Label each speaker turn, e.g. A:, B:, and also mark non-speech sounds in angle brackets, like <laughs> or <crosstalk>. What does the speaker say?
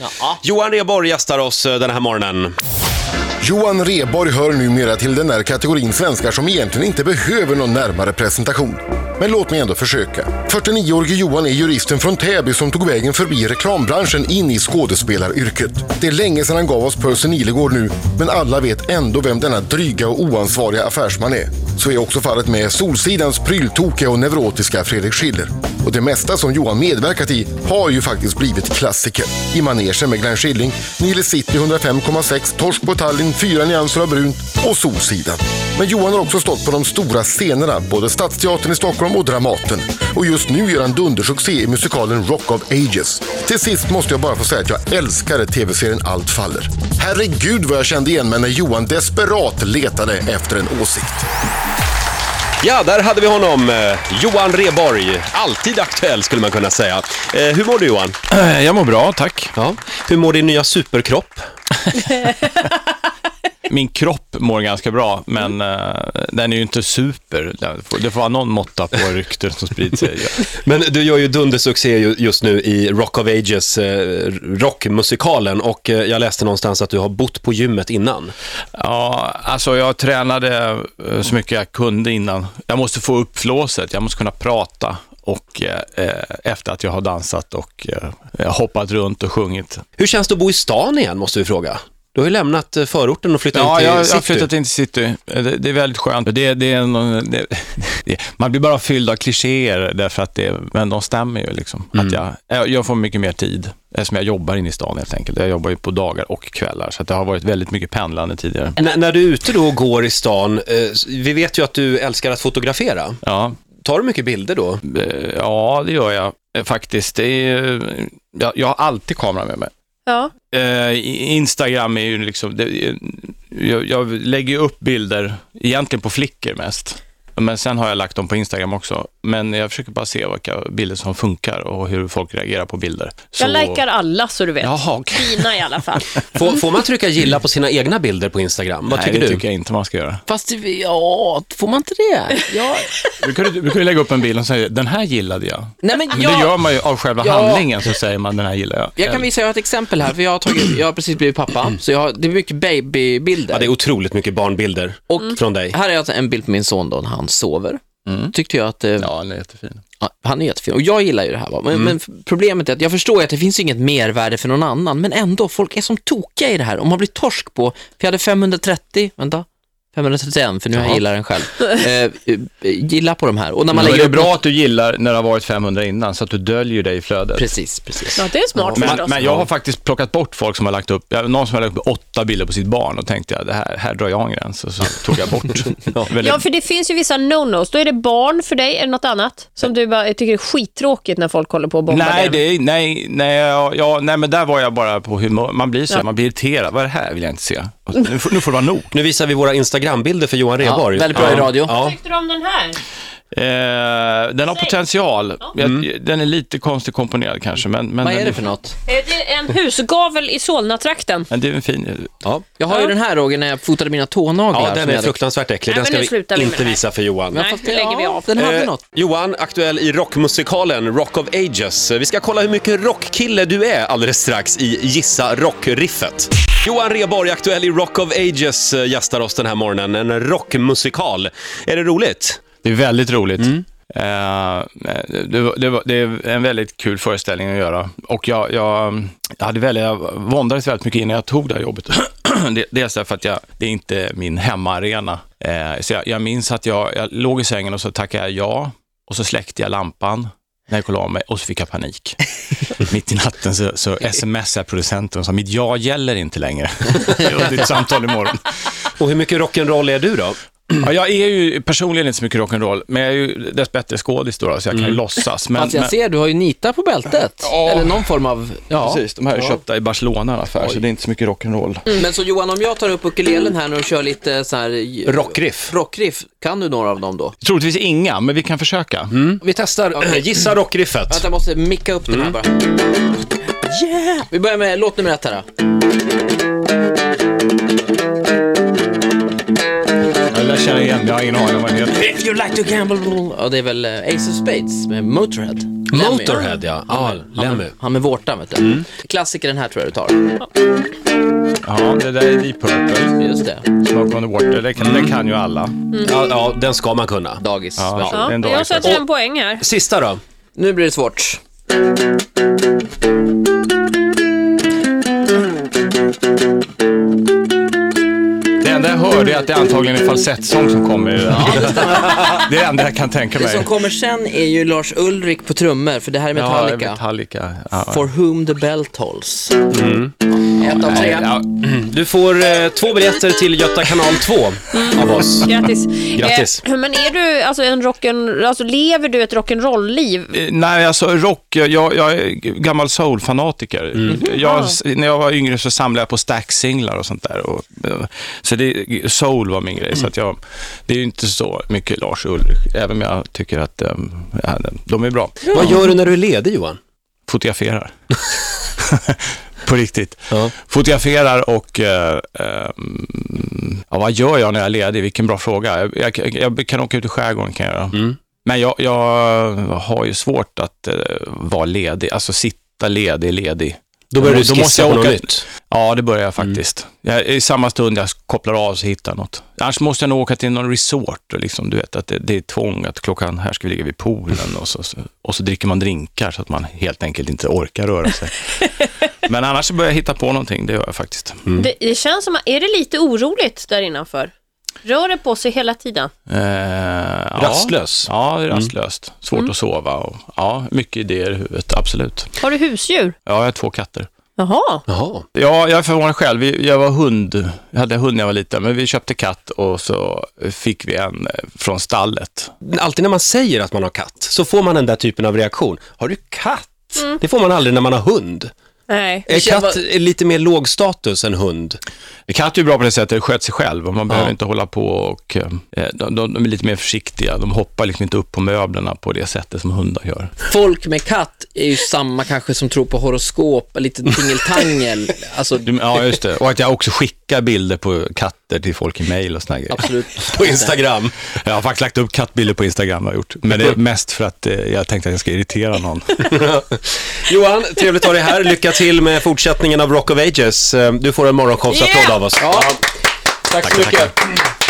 A: Ja.
B: Johan Rheborg gästar oss eh, den här morgonen.
C: Johan Rheborg hör numera till den där kategorin svenskar som egentligen inte behöver någon närmare presentation. Men låt mig ändå försöka. 49-årige Johan är juristen från Täby som tog vägen förbi reklambranschen in i skådespelaryrket. Det är länge sedan han gav oss Percy Nilegård nu, men alla vet ändå vem denna dryga och oansvariga affärsman är. Så är också fallet med Solsidans pryltokiga och neurotiska Fredrik Schiller. Och det mesta som Johan medverkat i har ju faktiskt blivit klassiker. I manegen med Glenn Schilling, Nile City 105,6, Torsk på Tallinn, Fyra nyanser av brunt och Solsidan. Men Johan har också stått på de stora scenerna, både Stadsteatern i Stockholm och Dramaten. Och just nu gör han dundersuccé i musikalen Rock of Ages. Till sist måste jag bara få säga att jag älskade tv-serien Allt faller. Herregud vad jag kände igen mig när Johan desperat letade efter en åsikt.
B: Ja, där hade vi honom. eh, Johan Rheborg. Alltid aktuell skulle man kunna säga. Eh, hur mår du Johan?
D: Eh, <clears throat> Jag mår bra, tack.
B: Ja. Hur mår din nya superkropp?
D: Min kropp mår ganska bra, men eh, den är ju inte super. Det får, det får vara någon måtta på rykten som sprids. sig.
B: Men du gör ju dundersuccé ju- just nu i Rock of Ages, eh, rockmusikalen. Och eh, jag läste någonstans att du har bott på gymmet innan.
D: Ja, alltså jag tränade eh, så mycket jag kunde innan. Jag måste få upp flåset, jag måste kunna prata och eh, eh, efter att jag har dansat och eh, hoppat runt och sjungit.
B: Hur känns det att bo i stan igen, måste vi fråga? Du har ju lämnat eh, förorten och flyttat
D: Ja,
B: in till
D: jag, jag har
B: city.
D: flyttat in till city. Det, det är väldigt skönt. Det, det är en, det, det, man blir bara fylld av klichéer, därför att det, men de stämmer ju. Liksom. Att jag, jag- jag får mycket mer tid, eftersom jag jobbar inne i stan helt enkelt. Jag jobbar ju på dagar och kvällar, så att det har varit väldigt mycket pendlande tidigare.
B: N- när du är ute då och går i stan, eh, s- vi vet ju att du älskar att fotografera.
D: Ja,
B: Tar du mycket bilder då?
D: eh, ja det gör jag eh, faktiskt. Det är, eh, jag, jag har alltid kamera med mig.
A: ja.
D: Eh, i- Instagram är ju liksom, det, jag, jag lägger ju upp bilder, egentligen på flickor mest. Men sen har jag lagt dem på Instagram också. Men jag försöker bara se vilka bilder som funkar och hur folk reagerar på bilder. Så-
A: Jag likar alla så du vet.
D: Jaha, okej.
A: Dina i alla fall.
B: Får, får man trycka gilla på sina egna bilder på Instagram? Vad
D: Nej,
B: tycker
D: det
B: du?
D: tycker jag inte man ska göra.
E: Fast det- ja, får man inte det? Ja.
D: Brukar du, brukar du lägga upp en bild och säga den här gillade jag?
E: <laughs> Nej, men
D: Men
E: jag,
D: det gör man ju av själva
E: Ja.
D: handlingen, så säger man den här gillar jag.
E: jag kan visa, jag har ett exempel här, för jag har, tagit, jag har precis blivit pappa,
D: Mm.
E: så jag har, det är mycket babybilder.
B: Ja, det är otroligt mycket barnbilder från dig.
E: Här är alltså en bild på min son då när han sover. Tyckte jag att eh,
D: Mm. Ja, Mm. den är jättefin.
E: ja, han är jättefin och jag gillar ju det här. Va? Men, men problemet är att jag förstår ju att det finns ju inget mervärde för någon annan, men ändå, folk är som tokiga i det här. Om man blir torsk på, för jag hade 530, vänta, 531, för nu har jag gillar den själv. Eh, eh, gilla på de här. Och när
D: Men
E: man
D: det
E: lägger
D: är
E: upp
D: bra att du gillar när det har varit 500 innan, så att du döljer dig i flödet.
E: Precis, precis.
A: Ja, det är smart
D: Men,
A: förstås.
D: men jag har faktiskt plockat bort folk som har lagt upp, jag- någon som har lagt upp åtta bilder på sitt barn och tänkte jag, det här, här drar jag en gräns och så tog jag
A: <laughs>
D: bort. Väldigt-
A: Ja, för det finns ju vissa no-nos. Då är det barn för dig, eller något annat som du bara tycker är skittråkigt när folk håller på och bombar
D: nej,
A: den.
D: det är, nej, nej, ja, ja, nej, men där var jag bara på humör. Man blir så,
A: Ja.
D: man blir irriterad. Vad är det här vill jag inte se. Och Nu får, nu får det
A: <laughs>
D: vara nog.
B: Nu visar vi våra Instagram-bilder för Johan
E: Ja,
B: Rheborg.
E: väldigt bra i radio.
B: Ja.
A: tyckte du om den här?
D: Eh, den har potential. Jag,
A: Mm.
D: Den är lite konstigt komponerad kanske, men, men
E: Vad är
D: den,
E: det för något?
A: Är det en husgavel i Solnatrakten?
D: Men det är en fin...
B: Ja.
E: Jag har ju
A: Ja.
E: den här Roger när jag fotade mina tånaglar.
B: Ja,
E: som
B: den
E: jag
B: är
E: hade-
B: fruktansvärt äcklig.
A: Nej,
B: Den
A: men
B: ska
A: nu
B: vi
A: slutar vi med
B: inte
A: det här.
B: visa för Johan.
E: Men
A: Nej,
E: fast-
A: nu lägger vi
E: ja,
A: av.
E: Den hade
B: Eh,
E: något.
B: Johan, aktuell i rockmusikalen Rock of Ages. Vi ska kolla hur mycket rockkille du är alldeles strax i Gissa rockriffet. Johan Rheborg, aktuell i Rock of Ages, eh, gästar oss den här morgonen. En rockmusikal. Är det roligt?
D: Det är väldigt roligt. Eh, det, var- det, var- det är en väldigt kul föreställning att göra. Och jag, jag, mm, jag, hade väldigt, jag våndades väldigt mycket innan jag tog det här jobbet. <clears throat> Det- Dels därför att jag, det är inte min hemmaarena. Eh, så jag, jag minns att jag, jag låg i sängen och så tackade jag ja och så släckte jag lampan när jag kollade av mig och så fick jag panik. Mitt i natten så, så smsade jag producenten och sa mitt ja gäller inte längre. <laughs> Det var ditt samtal imorgon.
B: Och hur mycket rock'n'roll är du då?
D: Ja, jag är ju personligen inte så mycket rock'n'roll, men jag är ju dessbättre skådis då, så Mm. jag kan ju låtsas. Men,
E: Alltså jag
D: men,
E: ser, du har ju nita på bältet.
D: Ja.
E: Eller någon form av... Ja. Mm.
D: Precis, de här är köpta i Barcelona i affär, så det är inte så mycket rock'n'roll.
E: Men så Johan, om jag tar upp ukulelen här nu och kör lite så här...
B: Rockriff.
E: Rockriff, kan du några av dem då?
D: Troligtvis inga, men vi kan försöka.
B: Vi testar Eh, Gissa rockriffet.
E: Mm. Vänta, jag måste micka upp den här bara. Yeah! Vi börjar med låt nummer ett här då.
D: Jag lär känna igen, jag har ingen aning om vad den heter.
E: If you like to gamble... Ja, det är väl eh, Ace of Spades med Motörhead. Lemmy.
B: Motorhead, ja. Ja,
E: Han
B: Lemmy.
E: med, han med vårtan, vet du. Klassiker den här tror jag du tar.
D: Ja, det där är Deep Purple.
E: Just det.
D: Smoke on the Water, det kan, det kan ju alla.
E: Mm.
B: Ja, ja, den ska man kunna.
E: Dagis.
D: Ja, det
E: Ja.
D: är
A: Ja,
D: en dålig
A: jag sätter
D: fest.
A: en poäng här.
B: Sista då.
E: Nu blir det svårt.
D: Det enda jag hörde är att det antagligen är falsettsång som kommer i <laughs> det här. Det är det enda jag kan tänka
E: Det som
D: mig.
E: kommer sen är ju Lars Ulrik på trummor, för det här är Metallica.
D: Ja, Metallica. Ja. Mm.
E: For whom the bell tolls. Ett av tre.
D: Ja,
B: Du får eh, två biljetter till Göta kanal 2
E: Mm.
B: av oss.
A: Grattis.
B: Grattis.
A: Eh, men är du alltså en rock'n'roll, alltså lever du ett rock'n'roll-liv?
D: Eh, Nej, alltså rock, jag, jag är g- gammal soulfanatiker. Jag, s- när jag var yngre så samlade jag på Stax-singlar och sånt där. Och, eh, så det, soul var min grej, så att jag, det är ju inte så mycket Lars Ulrich, även om jag tycker att eh, ja, de är bra.
B: Vad gör du när du är ledig, Johan?
D: Fotograferar. <laughs> på riktigt.
B: Ja.
D: Fotograferar och... Eh, eh, ja, vad gör jag när jag är ledig? Vilken bra fråga. Jag, jag, jag kan åka ut i skärgården, kan jag göra. Men jag, jag har ju svårt att eh, vara ledig, alltså sitta ledig, ledig.
B: Då börjar du
D: Då måste
B: skissa
D: jag
B: på något
D: åka-
B: nytt.
D: Ja, det börjar jag faktiskt. Jag, I samma stund jag kopplar av så hittar jag något. Annars måste jag nog åka till någon resort, och liksom, du vet, att det, det är tvång att klockan, här ska vi ligga vid poolen och så, så, och så dricker man drinkar så att man helt enkelt inte orkar röra sig. Men annars så börjar jag hitta på någonting, det gör jag faktiskt.
A: Det, det känns som, att- är det lite oroligt där innanför? Rör det på sig hela tiden?
D: Eh, ja.
B: Rastlös.
D: Ja, det är rastlöst. Svårt att sova och ja, mycket idéer i huvudet, absolut.
A: Har du husdjur?
D: Ja, jag har två katter.
A: Jaha.
B: Jaha.
D: Ja, jag är förvånad själv. Vi- Jag var hund, jag hade hund när jag var liten, men vi köpte katt och så fick vi en eh, från stallet.
B: Alltid när man säger att man har katt så får man den där typen av reaktion. Har du katt? Det får man aldrig när man har hund.
A: Nej.
B: Är
E: Mm. känner-
B: katt är lite mer låg status än hund? <laughs>
D: Katt är ju bra på det sättet, det sköter sig själv och man behöver inte hålla på och eh, de, de, de är lite mer försiktiga. De hoppar liksom inte upp på möblerna på det sättet som hundar gör.
E: Folk med katt är ju samma kanske som tror på horoskop, lite
D: <laughs>
E: tingeltangel. alltså,
D: Du- Ja, just det. Och att jag också skickar bilder på katter till folk i mail och såna grejer.
E: absolut.
B: På Instagram?
D: Jag har faktiskt lagt upp kattbilder på Instagram, har jag gjort. Men det är mest för att eh, jag tänkte att jag ska irritera någon.
B: Johan, trevligt att ha dig här. Lycka till med fortsättningen av Rock of Ages. Eh, Du får en morgonshowsapplåd
A: Yeah!
B: av oss.
E: Ja. Tack så mycket.